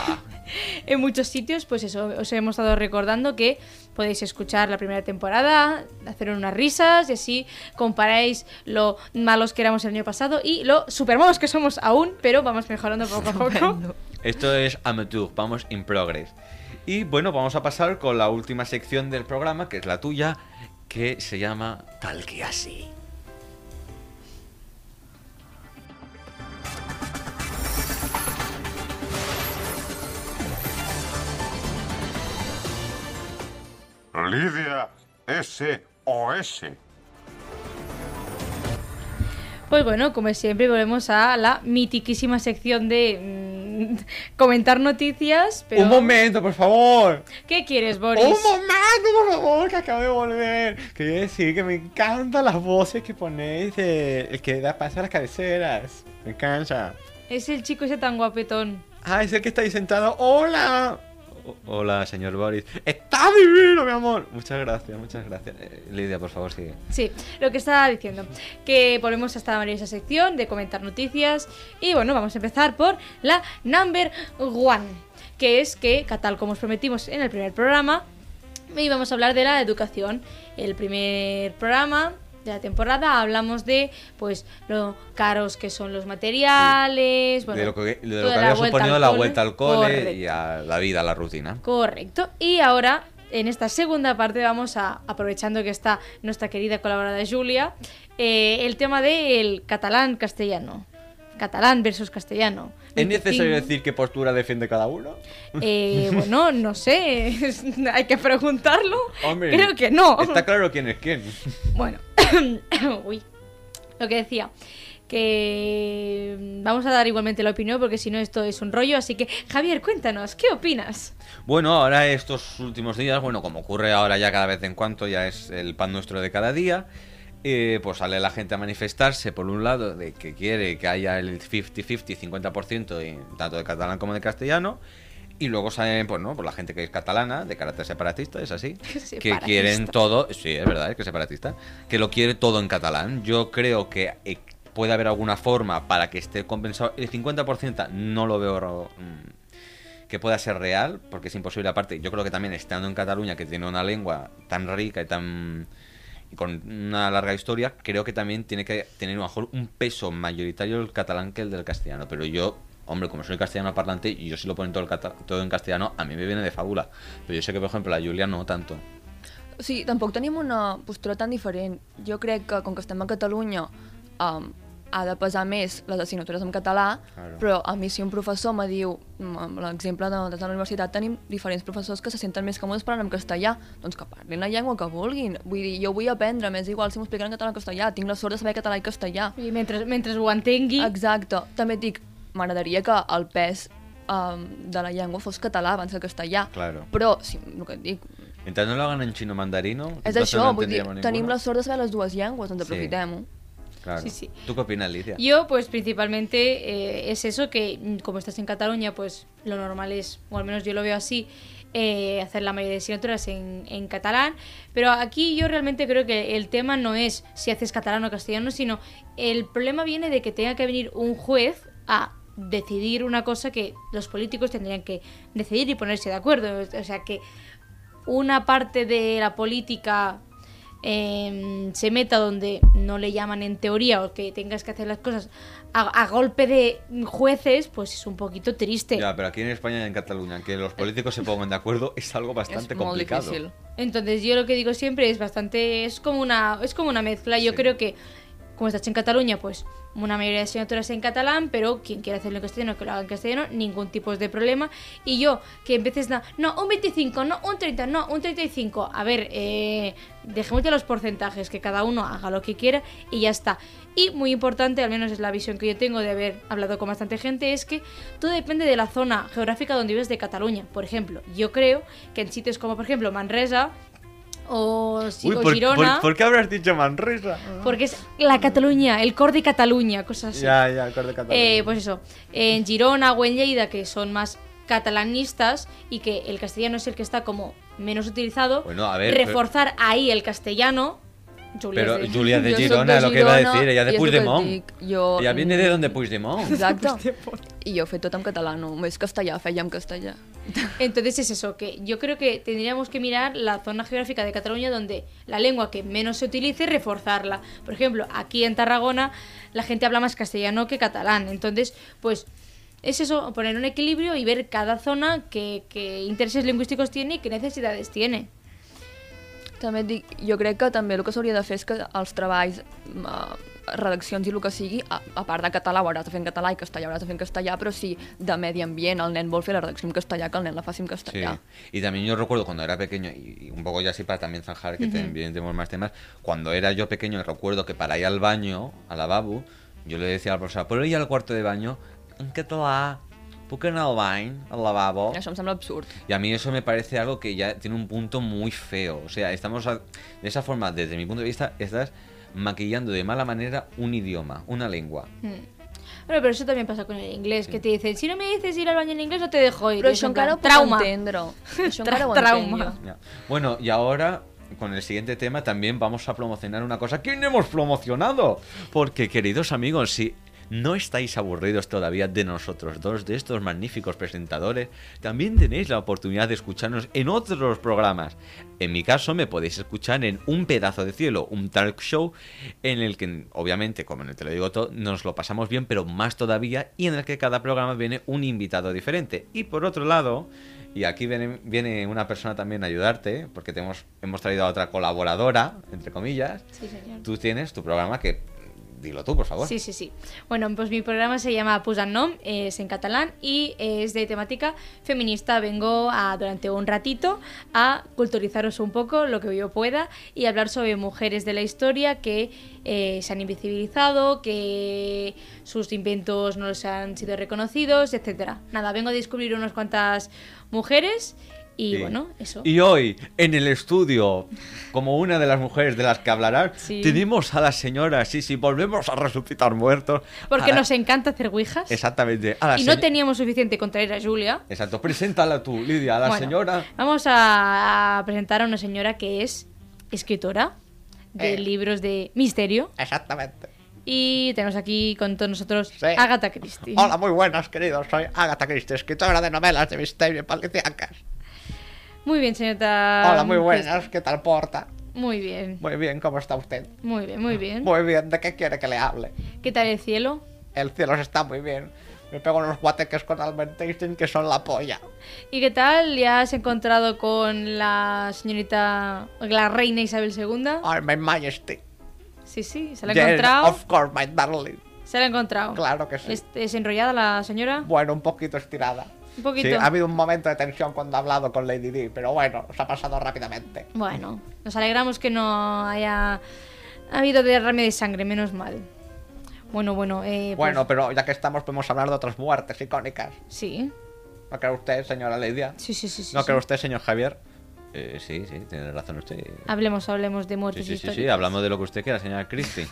Speaker 2: en muchos sitios, pues eso, os hemos estado recordando que podéis escuchar la primera temporada, hacer unas risas y así comparáis lo malos que éramos el año pasado y lo super malos que somos aún, pero vamos mejorando poco a poco.
Speaker 1: Esto es Amateur, vamos in progress. Y bueno, vamos a pasar con la última sección del programa, que es la tuya, que se llama Tal que así.
Speaker 4: Lidia, SOS.
Speaker 2: Pues bueno, como siempre, volvemos a la mitiquísima sección de mm, *laughs* comentar noticias. Pero...
Speaker 1: Un momento, por favor.
Speaker 2: ¿Qué quieres, Boris?
Speaker 1: Un momento, por favor, que acabo de volver. Quería decir que me encantan las voces que ponéis de- el que da paso a las cabeceras. Me encanta.
Speaker 2: Es el chico ese tan guapetón.
Speaker 1: Ah, es el que está ahí sentado. ¡Hola! O- Hola, señor Boris. ¡Está divino, mi amor! Muchas gracias, muchas gracias. Eh, Lidia, por favor, sigue.
Speaker 2: Sí, lo que estaba diciendo. Que volvemos a esta maravillosa sección de comentar noticias. Y bueno, vamos a empezar por la number one. Que es que, ca- tal como os prometimos en el primer programa, íbamos a hablar de la educación. El primer programa de la temporada hablamos de pues lo caros que son los materiales. bueno,
Speaker 1: de lo que, de lo
Speaker 2: toda
Speaker 1: que había
Speaker 2: vuelta al
Speaker 1: suponido la
Speaker 2: cole.
Speaker 1: vuelta al cole
Speaker 2: Correcto.
Speaker 1: y a la vida, a la rutina.
Speaker 2: Correcto. Y ahora, en esta segunda parte, vamos a, aprovechando que está nuestra querida colaboradora Julia, eh, el tema del catalán-castellano. Catalán versus castellano.
Speaker 1: ¿Es necesario
Speaker 2: Veinticinco-
Speaker 1: decir qué postura defiende cada uno?
Speaker 2: Eh, bueno, no sé. *laughs* Hay que preguntarlo.
Speaker 1: Hombre,
Speaker 2: Creo que no.
Speaker 1: Está claro quién es quién.
Speaker 2: Bueno, *coughs* uy, lo que decía, que mm, vamos a dar igualmente la opinión porque si no esto es un rollo. Así que, Javier, cuéntanos, ¿qué opinas?
Speaker 1: Bueno, ahora estos últimos días, bueno, como ocurre ahora ya cada vez en cuanto, ya es el pan nuestro de cada día, eh, pues sale la gente a manifestarse, por un lado, de que quiere que haya el 50-50, 50%, en tanto de catalán como de castellano, y luego salen, pues no, por la gente que es catalana, de carácter separatista, es así, que
Speaker 2: Separatista.
Speaker 1: quieren todo, sí, es verdad, es que es separatista, que lo quiere todo en catalán. Yo creo que eh, puede haber alguna forma para que esté compensado. El 50% no lo veo mm, que pueda ser real, porque es imposible. Aparte, yo creo que también estando en Cataluña, que tiene una lengua tan rica y tan y con una larga historia, creo que también tiene que tener a lo mejor un peso mayoritario el catalán que el del castellano. Pero yo, hombre, como soy castellano parlante y yo si lo ponen todo, el cata- todo en castellano, a mí me viene de fábula. Pero yo sé que, por ejemplo, la Julia no tanto.
Speaker 3: O sigui, tampoc tenim una postura tan diferent. Jo crec que, com que estem a Catalunya, um, ha de pesar més les assignatures en català,
Speaker 1: Claro.
Speaker 3: però a mi si un professor me diu, mm, amb l'exemple de, des de la universitat tenim diferents professors que se senten més còmodes parlant en castellà, doncs que parlin la llengua que vulguin. Vull dir, jo vull aprendre, m'és igual si m'ho expliquen en català o en castellà, tinc la sort de saber català i castellà.
Speaker 2: Y mientras, mientras ho entengui,
Speaker 3: Exacte, també et dic, m'agradaria que el pes um, de la llengua fos català abans que castellà,
Speaker 1: Claro.
Speaker 3: però, sí, el que et dic,
Speaker 1: Mientras no lo hagan en chino mandarino,
Speaker 3: És
Speaker 1: entonces
Speaker 3: això,
Speaker 1: no
Speaker 3: vull dir,
Speaker 1: entendríamos
Speaker 3: tenim
Speaker 1: ninguno.
Speaker 3: la sort de saber les dues llengües, doncs
Speaker 1: Sí.
Speaker 3: aprofitem-ho.
Speaker 1: Claro.
Speaker 2: Sí, sí.
Speaker 1: ¿Tú qué opinas, Alicia?
Speaker 2: Yo, pues principalmente eh, es eso que, mm, como estás en Cataluña, pues lo normal es, o al menos yo lo veo así, eh, hacer la mayoría de asignaturas en, en catalán. Pero aquí yo realmente creo que el tema no es si haces catalán o castellano, sino el problema viene de que tenga que venir un juez a decidir una cosa que los políticos tendrían que decidir y ponerse de acuerdo. O sea que una parte de la política eh, se meta donde no le llaman en teoría o que tengas que hacer las cosas a, a golpe de jueces, pues es un poquito triste.
Speaker 1: Ya, pero aquí en España y en Cataluña, que los políticos se pongan de acuerdo es algo bastante
Speaker 3: és molt
Speaker 1: complicado.
Speaker 3: difícil. *laughs*
Speaker 2: Entonces yo lo que digo siempre es bastante, es como una, es como una mezcla. Yo
Speaker 1: Sí.
Speaker 2: creo que como estás en Cataluña, pues una mayoría de asignaturas en catalán, pero quien quiera hacerlo en castellano, que lo haga en castellano, ningún tipo de problema. Y yo, que empieces, na- no, un 25, no, un 30, no, un 35. A ver, eh, dejemos ya los porcentajes, que cada uno haga lo que quiera y ya está. Y muy importante, al menos es la visión que yo tengo de haber hablado con bastante gente, es que todo depende de la zona geográfica donde vives de Cataluña. Por ejemplo, yo creo que en sitios como, por ejemplo, Manresa o, Si-
Speaker 1: Uy,
Speaker 2: o
Speaker 1: por,
Speaker 2: Girona,
Speaker 1: por- ¿por qué habrás dicho Manresa?
Speaker 2: porque es la Cataluña, el core de Cataluña, cosas así.
Speaker 1: Ya, ya, acorde Cataluña.
Speaker 2: Eh, pues eso, en Girona o en Lleida, que son más catalanistas y que el castellano es el que está como menos utilizado,
Speaker 1: Bueno, a ver,
Speaker 2: reforzar ahí el castellano. Julia
Speaker 1: pero
Speaker 2: es de-
Speaker 1: Julia es de
Speaker 3: Jo soc
Speaker 1: Girona,
Speaker 3: de
Speaker 1: lo que iba a
Speaker 3: Girona,
Speaker 1: decir, ella
Speaker 3: i
Speaker 1: de
Speaker 3: és lo que et
Speaker 1: Puigdemont.
Speaker 3: dic, jo-
Speaker 1: Ella viene de donde
Speaker 3: *laughs*
Speaker 1: Puigdemont.
Speaker 3: Exacte. I jo he fet tot en català, no, més castellà, feia en castellà.
Speaker 2: *laughs* Entonces es eso, que yo creo que tendríamos que mirar la zona geográfica de Cataluña donde la lengua que menos se utilice, reforzarla. Por ejemplo, aquí en Tarragona la gente habla más castellano que catalán. Entonces, pues es eso, poner un equilibrio y ver cada zona qué, qué intereses lingüísticos tiene y qué necesidades tiene.
Speaker 3: També et dic, jo crec que també el que s'hauria de fer és que els treballs eh, redaccions i el que sigui, a, a part de català ho hauràs de fer en català i castellà ho hauràs de fer en castellà, però si de medi ambient el nen vol fer la redacció en castellà, que el nen la faci en
Speaker 1: Sí.
Speaker 3: castellà.
Speaker 1: Y también yo recuerdo cuando era pequeño, y y un poco ya así para también zanjar que también tenemos más temas, cuando era yo pequeño recuerdo que para ir al baño, al lavabo, yo le decía al profesor, ¿puedo ir al cuarto de baño? En català, puc anar al bany, al lavabo?
Speaker 3: Això em sembla absurd.
Speaker 1: Y a mí eso me parece algo que ya tiene un punto muy feo. O sea, estamos a- de esa forma, desde mi punto de vista, estás maquillando de mala manera un idioma, una lengua.
Speaker 2: Bueno, pero eso también pasa con el inglés, que te dicen, si no me dices ir al baño en inglés, no te dejo ir.
Speaker 3: Però
Speaker 2: Y es
Speaker 3: això
Speaker 2: en plan,
Speaker 3: encara ho puc
Speaker 2: trauma. *laughs*
Speaker 3: entendre. Això
Speaker 2: Tra-
Speaker 3: encara ho entenc
Speaker 2: trauma.
Speaker 3: jo.
Speaker 1: Ya. Bueno, y ahora con el siguiente tema también vamos a promocionar una cosa que no hemos promocionado. Porque, queridos amigos, si no estáis aburridos todavía de nosotros dos, de estos magníficos presentadores, también tenéis la oportunidad de escucharnos en otros programas. En mi caso, me podéis escuchar en Un Pedazo de Cielo, un talk show en el que, obviamente, como en el Te lo digo todo, nos lo pasamos bien, pero más todavía, y en el que cada programa viene un invitado diferente. Y por otro lado, y aquí viene, viene una persona también a ayudarte, porque te hemos, hemos traído a otra colaboradora, entre comillas.
Speaker 2: Sí, señor.
Speaker 1: Tú tienes tu programa que... Dilo tú, por favor.
Speaker 2: Sí, sí, sí. Bueno, pues mi programa se llama Pusan Nom, es en catalán y es de temática feminista. Vengo a, durante un ratito a culturizaros un poco lo que yo pueda y hablar sobre mujeres de la historia que eh, se han invisibilizado, que sus inventos no les han sido reconocidos, etcétera. Nada, vengo a descubrir unas cuantas mujeres y
Speaker 1: Sí.
Speaker 2: bueno, eso.
Speaker 1: Y hoy, en el estudio, como una de las mujeres de las que hablará,
Speaker 2: Sí.
Speaker 1: tenemos a la señora, sí, sí, volvemos a resucitar muertos. a
Speaker 2: Porque
Speaker 1: la-
Speaker 2: nos encanta hacer ouijas.
Speaker 1: Exactamente. A la
Speaker 2: Y no
Speaker 1: señ-
Speaker 2: teníamos suficiente con traer a Julia.
Speaker 1: Exacto, preséntala tú, Lidia, a la
Speaker 2: Bueno,
Speaker 1: señora.
Speaker 2: Vamos a, a presentar a una señora que es escritora de
Speaker 1: Eh.
Speaker 2: libros de misterio.
Speaker 1: Exactamente.
Speaker 2: Y tenemos aquí con todos nosotros
Speaker 1: Sí.
Speaker 2: Agatha Christie.
Speaker 1: Hola, muy buenas, queridos. Soy Agatha Christie, escritora de novelas de misterio y policíacas.
Speaker 2: Muy bien, señorita.
Speaker 1: Hola, muy
Speaker 2: pues
Speaker 1: buenas, ¿qué tal porta?
Speaker 2: Muy bien,
Speaker 1: Muy bien, ¿cómo está usted?
Speaker 2: muy bien, muy bien.
Speaker 1: Muy bien, ¿de qué quiere que le hable?
Speaker 2: ¿Qué tal el cielo?
Speaker 1: El cielo está muy bien. Me pego unos guateques con Albert Einstein que son la polla.
Speaker 2: ¿Y qué tal? ¿Ya has encontrado con la señorita, la reina Isabel II?
Speaker 1: Oh, my majesty.
Speaker 2: Sí, sí, se la ha
Speaker 1: Yes,
Speaker 2: encontrado.
Speaker 1: Of course, my darling.
Speaker 2: Se la ha encontrado.
Speaker 1: Claro que sí.
Speaker 2: ¿Es, es enrollada la señora?
Speaker 1: Bueno, un poquito estirada.
Speaker 2: Un poquito.
Speaker 1: Sí, ha habido un momento de tensión cuando ha hablado con Lady Di, pero bueno, se ha pasado rápidamente.
Speaker 2: Bueno, nos alegramos que no haya habido derrame de sangre, menos mal. Bueno, bueno, eh, pues,
Speaker 1: Bueno, pero ya que estamos podemos hablar de otras muertes icónicas.
Speaker 2: sí,
Speaker 1: ¿No cree usted, señora Lidia?
Speaker 2: sí, sí, sí, sí,
Speaker 1: ¿No
Speaker 2: sí.
Speaker 1: cree usted, señor Javier? Eh, sí, sí, tiene razón usted.
Speaker 2: Hablemos, hablemos de muertes históricas.
Speaker 1: hablamos de lo que usted quiera, señora
Speaker 2: *laughs*
Speaker 1: Christie.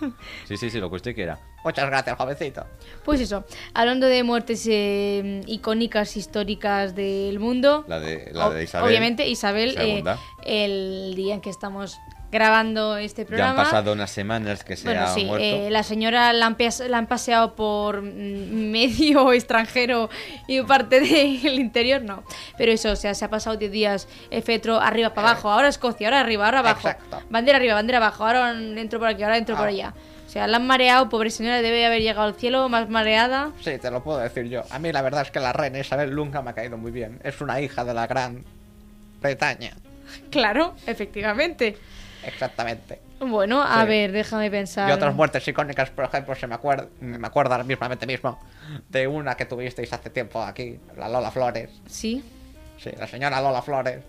Speaker 1: Sí, sí, sí, lo que usted quiera. Muchas gracias, jovencito.
Speaker 2: Pues eso, hablando de muertes eh, icónicas históricas del mundo.
Speaker 1: La de- la
Speaker 2: ob-
Speaker 1: de Isabel
Speaker 2: Obviamente, Isabel, eh,
Speaker 1: segunda.
Speaker 2: el día en que estamos grabando
Speaker 1: Ya
Speaker 2: este
Speaker 1: han
Speaker 2: programa.
Speaker 1: pasado unas semanas que se
Speaker 2: Bueno,
Speaker 1: ha
Speaker 2: sí,
Speaker 1: muerto.
Speaker 2: eh, la señora la han, pas- la han paseado por mm, medio *laughs* extranjero y parte del interior, no. Pero eso, o sea, se ha pasado 10 días el fetro arriba para abajo, ahora Escocia, ahora arriba, ahora abajo.
Speaker 1: Exacto.
Speaker 2: Bandera arriba, bandera abajo, ahora entro por aquí, ahora entro por
Speaker 1: Ah.
Speaker 2: allá. O sea, la han mareado, pobre señora, debe haber llegado al cielo más mareada. *laughs*
Speaker 1: Sí, te lo puedo decir yo. A mí la verdad es que la reina Isabel nunca me ha caído muy bien. Es una hija de la Gran Bretaña.
Speaker 2: Claro, efectivamente.
Speaker 1: Exactamente.
Speaker 2: Bueno, a
Speaker 1: Sí.
Speaker 2: ver, déjame pensar.
Speaker 1: Y otras muertes icónicas, por ejemplo, se me acuerda, me acuerdo ahora mismamente mismo de una que tuvisteis hace tiempo aquí, la Lola Flores.
Speaker 2: Sí.
Speaker 1: Sí, la señora Lola Flores,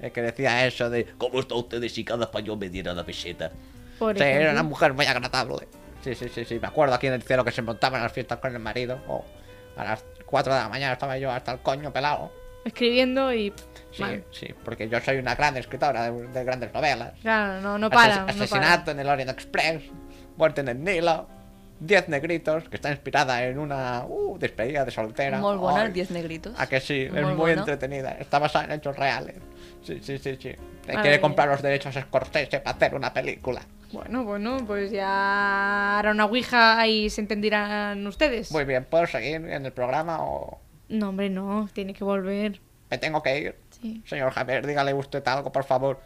Speaker 1: eh, que decía eso de...
Speaker 5: ¿Cómo está ustedes si cada español me diera la peseta?
Speaker 2: Por
Speaker 1: Sí, era una
Speaker 2: ejemplo.
Speaker 1: mujer muy agradable. Sí, sí, sí, sí. Me acuerdo aquí en el cielo que se montaban las fiestas con el marido. o a las 4 de la mañana estaba yo hasta el coño pelado.
Speaker 2: Escribiendo y...
Speaker 1: Sí,
Speaker 2: mal.
Speaker 1: sí, porque yo soy una gran escritora de, de grandes novelas.
Speaker 2: Claro, no, no
Speaker 1: Ases-
Speaker 2: para. no para.
Speaker 1: asesinato en el Orient Express, muerte en el Nilo, Diez negritos, que está inspirada en una uh, despedida de soltera.
Speaker 3: Molt bona,
Speaker 1: Ay,
Speaker 3: el 10 negritos.
Speaker 1: A que sí, es
Speaker 3: Molt
Speaker 1: muy
Speaker 3: bona.
Speaker 1: entretenida, está basada en hechos reales. Sí, sí, sí, sí. Te
Speaker 2: Maravilla.
Speaker 1: quiere comprar los derechos a Scorsese para hacer una película.
Speaker 2: Bueno, bueno, pues ya hará una ouija y se entenderán ustedes.
Speaker 1: Muy bien, ¿puedo seguir en el programa o
Speaker 2: No, hombre, no, tiene que volver.
Speaker 1: me tengo que ir?
Speaker 2: Sí.
Speaker 1: Señor Javier, dígale usted algo, por favor.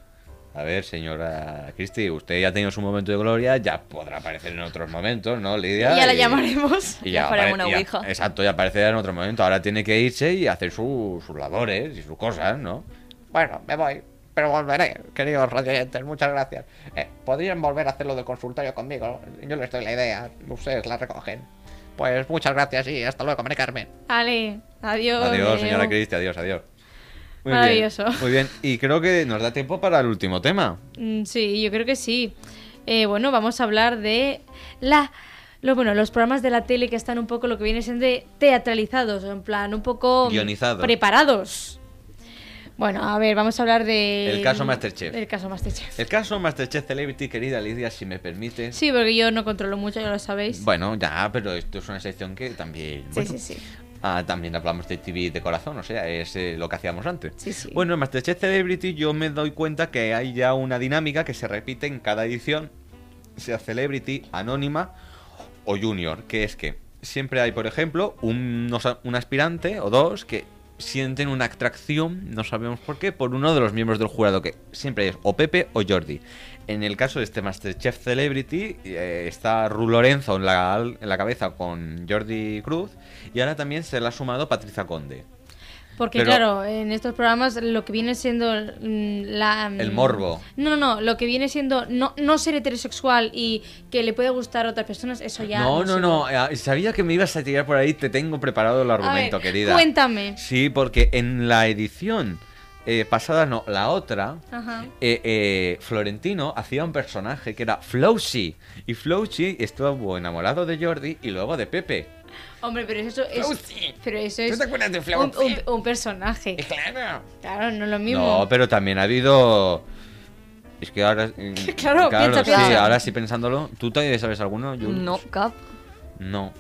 Speaker 1: A ver, señora Cristi, usted ya ha tenido su momento de gloria, ya podrá aparecer en otros momentos, ¿no, Lidia?
Speaker 2: Y ya la
Speaker 1: Y-
Speaker 2: llamaremos.
Speaker 1: y
Speaker 3: Ya faremos
Speaker 1: apare-
Speaker 3: una
Speaker 1: y ya-
Speaker 3: ouija.
Speaker 1: exacto, ya aparecerá en otro momento. Ahora tiene que irse y hacer su- sus labores y sus cosas, ¿no? Bueno, me voy.
Speaker 6: Pero volveré, queridos radioyentes, muchas gracias. Eh, Podrían volver a hacerlo del consultorio conmigo. Yo les doy la idea, ustedes la recogen. Pues muchas gracias y hasta luego, María Carmen.
Speaker 2: Ale, adiós.
Speaker 1: Adiós,
Speaker 2: Leo.
Speaker 1: señora Cristi, adiós, adiós. Muy
Speaker 2: Maravilloso.
Speaker 1: Bien, muy bien, y creo que nos da tiempo para el último tema.
Speaker 2: Mm, Sí, yo creo que sí. Eh, bueno, vamos a hablar de la. Lo, bueno, los programas de la tele que están un poco lo que viene siendo de teatralizados, en plan, un poco. mm,
Speaker 1: Guionizados.
Speaker 2: Preparados. Bueno, a ver, vamos a hablar de.
Speaker 1: El caso Masterchef.
Speaker 2: El caso Masterchef.
Speaker 1: El caso Masterchef Celebrity, querida Lidia, si me permites.
Speaker 2: Sí, porque yo no controlo mucho, ya lo sabéis.
Speaker 1: Bueno, ya, pero esto es una sección que también...
Speaker 2: sí,
Speaker 1: bueno,
Speaker 2: sí, sí.
Speaker 1: Ah, también hablamos de TV de corazón, o sea, es eh, lo que hacíamos antes.
Speaker 2: Sí, sí.
Speaker 1: Bueno, en Masterchef Celebrity yo me doy cuenta que hay ya una dinámica que se repite en cada edición, sea Celebrity, Anónima o Junior, que es que siempre hay, por ejemplo, un, unos a- un aspirante o dos que sienten una atracción, no sabemos por qué, por uno de los miembros del jurado, que siempre es o Pepe o Jordi. En el caso de este Masterchef Celebrity, eh, está Ru Lorenzo en la, en la cabeza con Jordi Cruz y ahora también se le ha sumado Patricia Conde.
Speaker 2: Porque
Speaker 1: Pero-
Speaker 2: claro, en estos programas lo que viene siendo mm, la... mm,
Speaker 1: El morbo.
Speaker 2: No, no, no, lo que viene siendo no, no ser heterosexual y que le puede gustar a otras personas, eso ya...
Speaker 1: No, no,
Speaker 2: se-
Speaker 1: no. eh, Sabía que me ibas a tirar por ahí. Te tengo preparado el argumento,
Speaker 2: A ver,
Speaker 1: querida.
Speaker 2: Cuéntame.
Speaker 1: Sí, porque en la edición eh, pasada, no, la otra,
Speaker 2: Ajá.
Speaker 1: eh, eh, Florentino hacía un personaje que era Flowsy. Y Flowsy estuvo enamorado de Jordi y luego de Pepe.
Speaker 2: Hombre, pero eso es...
Speaker 6: Flauci.
Speaker 2: Pero eso
Speaker 6: ¡Oh, ¿Tú
Speaker 2: es
Speaker 6: te acuerdas de
Speaker 2: un,
Speaker 6: Flauci?
Speaker 2: un- un personaje.
Speaker 6: Eh, Claro.
Speaker 2: Claro, no es lo mismo.
Speaker 1: No, pero también ha habido. Es que ahora. mm,
Speaker 2: *laughs* Claro, piensa,
Speaker 1: sí,
Speaker 2: piensa.
Speaker 1: ahora sí pensándolo. ¿Tú también sabes alguno? Jules?
Speaker 3: No, cap.
Speaker 1: No.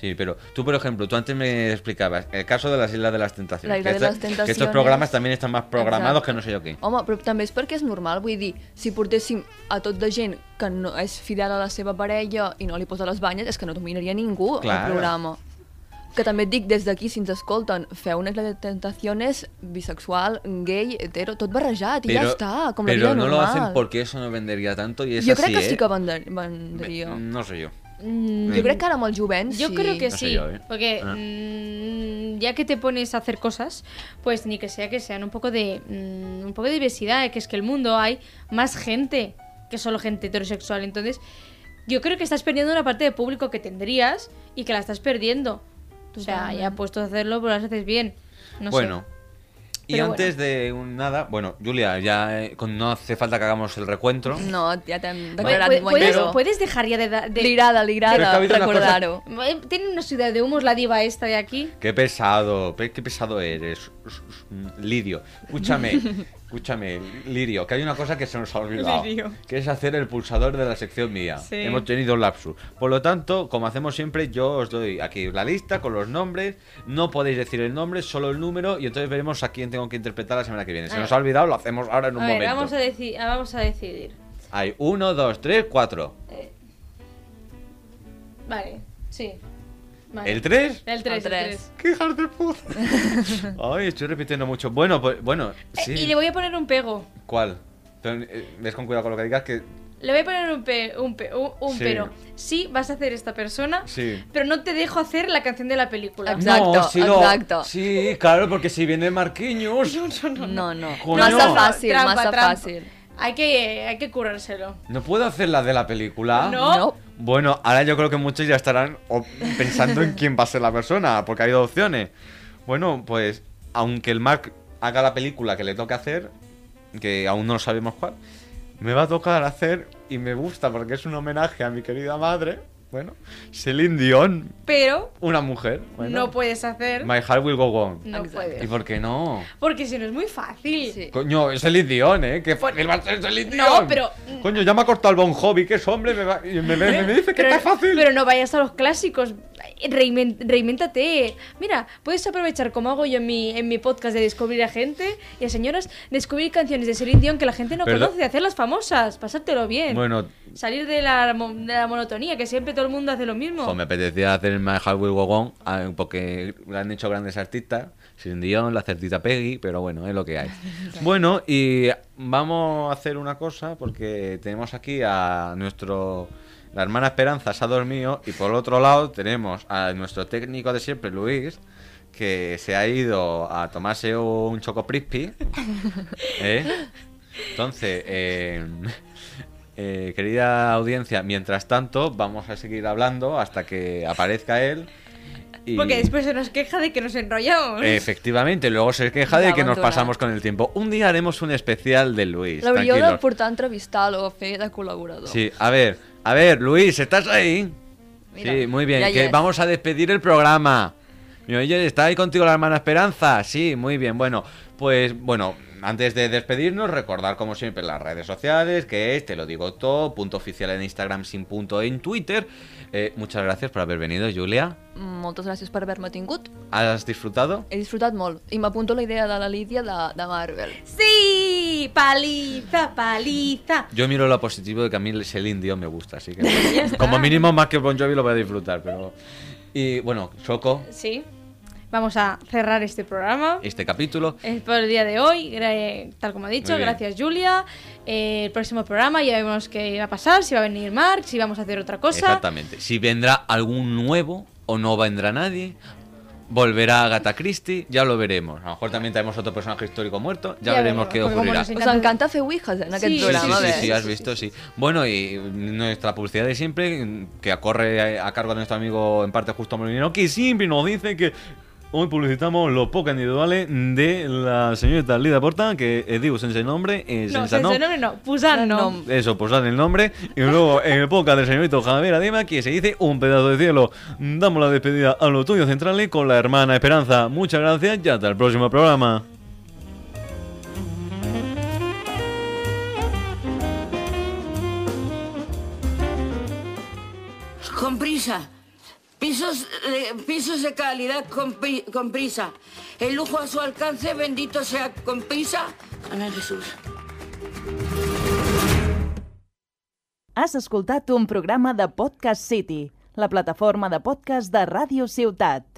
Speaker 1: Sí, pero tú, por ejemplo, tú antes me explicabas el caso de las Islas de las Tentaciones.
Speaker 3: La Isla
Speaker 1: que
Speaker 3: de
Speaker 1: esta-
Speaker 3: las Tentaciones.
Speaker 1: Que estos programas también están más programados
Speaker 3: Exacte.
Speaker 1: que no sé yo qué.
Speaker 3: Home, però també és perquè és normal, vull dir, si portéssim a tot de gent que no és fidel a la seva parella i no li posa les banyes, és que no dominaria ningú
Speaker 1: Clar.
Speaker 3: el programa. Que també et dic, des d'aquí, si ens escolten, feu una isla de tentaciones bisexual, gay, hetero, tot barrejat, i ja està, com la
Speaker 1: pero
Speaker 3: vida
Speaker 1: no
Speaker 3: normal.
Speaker 1: lo hacen porque eso no vendería tanto y es
Speaker 3: Jo
Speaker 1: así,
Speaker 3: crec que
Speaker 1: ¿eh?
Speaker 3: sí que vendre- vendria.
Speaker 1: Me- No sé yo.
Speaker 2: Mm,
Speaker 3: Jo crec que ara amb els jovents
Speaker 2: Yo
Speaker 3: sí.
Speaker 2: creo que
Speaker 1: No sé
Speaker 2: sí,
Speaker 1: yo, ¿eh?
Speaker 2: porque
Speaker 1: Ah.
Speaker 2: mm, ya que te pones a hacer cosas, pues ni que sea que sean un poco de mm, un poco de diversidad, que es que el mundo hay más gente que solo gente heterosexual, entonces yo creo que estás perdiendo una parte de público que tendrías y que la estás perdiendo. O sea, ya puesto a hacerlo, pues las haces bien. No
Speaker 1: bueno. Y
Speaker 2: Pero
Speaker 1: antes de un nada, bueno, Julia, ya eh, con- no hace falta que hagamos el recuentro.
Speaker 3: No, ja t'hem
Speaker 2: sé.
Speaker 3: declarat
Speaker 2: Pu- pu- ¿Puedes,
Speaker 3: guanyador.
Speaker 2: puedes dejar ya de, da- de-
Speaker 3: Lirada,
Speaker 1: Però
Speaker 3: lirada,
Speaker 1: que ha habido una cosa-
Speaker 3: recordar-ho.
Speaker 2: Eh, Tiene una ciudad de humos la diva esta de aquí.
Speaker 1: Qué pesado, pe- qué pesado eres, Lidio.
Speaker 2: *laughs*
Speaker 1: Escúchame, escúchame, Lirio, que hay una cosa que se nos ha olvidado,
Speaker 2: Lirio.
Speaker 1: que es hacer el pulsador de la sección mía.
Speaker 2: Sí.
Speaker 1: Hemos tenido un lapsus. Por lo tanto, como hacemos siempre, yo os doy aquí la lista con los nombres. No podéis decir el nombre, solo el número, y entonces veremos a quién tengo que interpretar la semana que viene.
Speaker 2: A
Speaker 1: Se
Speaker 2: ver.
Speaker 1: nos ha olvidado, lo hacemos ahora en un
Speaker 2: Ah. a ver,
Speaker 1: momento.
Speaker 2: vamos a, deci- ah, vamos a decidir.
Speaker 1: Hay uno, dos, tres, cuatro.
Speaker 2: Vale, sí. Vale. Eh.
Speaker 1: ¿El tres?
Speaker 2: El 3,
Speaker 3: El tres.
Speaker 1: ¡Qué hijos de
Speaker 2: *laughs*
Speaker 1: puta! Ay, estoy repitiendo mucho. Bueno, pues, bueno, sí.
Speaker 2: Eh, Y le voy a poner un pego.
Speaker 1: ¿Cuál? Pero, eh, ves con cuidado con lo que digas que
Speaker 2: Le voy a poner un, pe- un, pe- un- un
Speaker 1: Sí.
Speaker 2: pero. Sí, vas a hacer esta persona,
Speaker 1: Sí.
Speaker 2: pero no te dejo hacer la canción de la película.
Speaker 3: Exacto. exacto.
Speaker 1: Sí, claro, porque si viene Marquinhos.
Speaker 3: No, no.
Speaker 1: Coño.
Speaker 3: Massa fàcil,
Speaker 2: Trampa,
Speaker 3: massa
Speaker 2: trampa.
Speaker 3: fàcil.
Speaker 2: Hay que, hay que currárselo.
Speaker 1: No puedo hacer la de la película.
Speaker 2: No.
Speaker 3: No.
Speaker 1: Bueno, ahora yo creo que muchos ya estarán o- pensando en quién va a ser la persona, porque hay dos opciones. Bueno, pues aunque el Mark haga la película que le toque hacer, que aún no sabemos cuál, me va a tocar hacer y me gusta porque es un homenaje a mi querida madre. Bueno, Celine Dion,
Speaker 2: Pero
Speaker 1: una mujer. bueno.
Speaker 2: no puedes hacer.
Speaker 1: My heart will go on.
Speaker 2: No
Speaker 3: Exacto.
Speaker 1: ¿Y
Speaker 2: puedes.
Speaker 1: por qué no?
Speaker 2: Porque si no es muy fácil.
Speaker 3: Sí.
Speaker 1: Coño, es el Dion, ¿eh? Que fácil va a ser el
Speaker 2: No, pero-
Speaker 1: Coño, ya me ha cortado el Bon Jovi, que es hombre, me, va- y me, me- me dice que
Speaker 2: ¿Eh? Pero,
Speaker 1: está fácil.
Speaker 2: pero no vayas a los clásicos. Reinven- reinvéntate. Mira, puedes aprovechar, como hago yo en mi, en mi podcast de descubrir a gente y a señoras, descubrir canciones de Celine Dion que la gente no
Speaker 1: Pero-
Speaker 2: conoce, hacerlas famosas, pasártelo bien.
Speaker 1: Bueno,
Speaker 2: Salir de la, mo- de la monotonía, que siempre todo el mundo hace lo mismo.
Speaker 1: jo, Pues me apetecía hacer el My Heart Will Go On ah, porque lo han hecho grandes artistas. Sin Dion, la certita Peggy, pero bueno, es lo que hay. Bueno, y vamos a hacer una cosa porque tenemos aquí a nuestro. La hermana Esperanza se ha dormido y por otro lado tenemos a nuestro técnico de siempre, Luis, que se ha ido a tomarse un Choco Crispy. ¿eh? Entonces, eh, *laughs* eh, querida audiencia, mientras tanto, vamos a seguir hablando hasta que aparezca él. y-
Speaker 2: Porque después se nos queja de que nos enrollamos.
Speaker 1: Eh. Efectivamente, luego se queja de
Speaker 3: La
Speaker 1: que nos
Speaker 3: abandona.
Speaker 1: pasamos con el tiempo. Un día haremos un especial de Luis.
Speaker 3: L'hauríeu de
Speaker 1: tranquilos.
Speaker 3: portar a entrevistar-lo, a fer de col·laborador.
Speaker 1: Sí, a ver, a ver, Luis, ¿estás ahí?
Speaker 3: Mira,
Speaker 1: sí, muy
Speaker 3: ya
Speaker 1: bien, que
Speaker 3: yes.
Speaker 1: vamos a despedir el programa. Mi oye, ¿está ahí contigo la hermana Esperanza? Sí, muy bien, bueno, pues bueno, antes de despedirnos, recordar como siempre las redes sociales, que es, te lo digo todo, punto oficial en Instagram, sin punto en Twitter. Eh, muchas gracias por haber venido, Julia.
Speaker 3: Moltes gràcies per haver-me tingut.
Speaker 1: ¿Has disfrutado?
Speaker 3: He disfrutat molt. I m'apunto la idea de la Lídia de, de Marvel.
Speaker 2: Sí, paliza, paliza.
Speaker 1: Yo miro lo positivo de que a mí el indio me gusta, así
Speaker 3: *laughs*
Speaker 1: que como mínimo más que Bon Jovi lo voy a disfrutar, pero... Y bueno, Choco,
Speaker 2: Sí. Vamos a cerrar este programa.
Speaker 1: este capítulo.
Speaker 2: Es por el día de hoy, gra- eh, tal como he dicho,
Speaker 1: Muy bien.
Speaker 2: gracias Julia. Eh, el próximo programa ya vemos qué va a pasar, si va a venir Mark, si vamos a hacer otra cosa.
Speaker 1: Exactamente. Si vendrá algún nuevo o no vendrá nadie, volverá Agatha Christie, ya lo veremos. A lo mejor también tenemos otro personaje histórico muerto, ya,
Speaker 2: Ya
Speaker 1: veremos
Speaker 2: veremos,
Speaker 1: qué
Speaker 2: porque como
Speaker 1: ocurrirá.
Speaker 2: nos
Speaker 1: Sí,
Speaker 3: Us encanta fer ouijas eh, en aquest
Speaker 2: Sí,
Speaker 1: sí,
Speaker 3: programa,
Speaker 1: sí,
Speaker 3: bé.
Speaker 1: sí, sí, has visto, sí. Bueno, y nuestra publicidad de siempre, que corre a cargo de nuestro amigo en parte Justo Molinero, que siempre nos dice que hoy publicitamos los pocas individuales de la señorita Lida Porta, que eh, digo sense nombre, eh,
Speaker 2: No,
Speaker 1: sense
Speaker 2: sense
Speaker 1: nom.
Speaker 2: nombre no, Pusan no.
Speaker 1: Eso, pues dan el nombre. Y luego en el podcast del señorito Javier Adema, que se dice un pedazo de cielo. Damos la despedida a los tuyos centrales con la hermana Esperanza. Muchas gracias y hasta el próximo programa.
Speaker 7: Con prisa. Pisos, eh, pisos de calidad con, pri- con prisa. El lujo a su alcance, bendito sea con prisa. Amén Jesús.
Speaker 8: Has escoltat un programa de Podcast City, la plataforma de podcast de Ràdio Ciutat.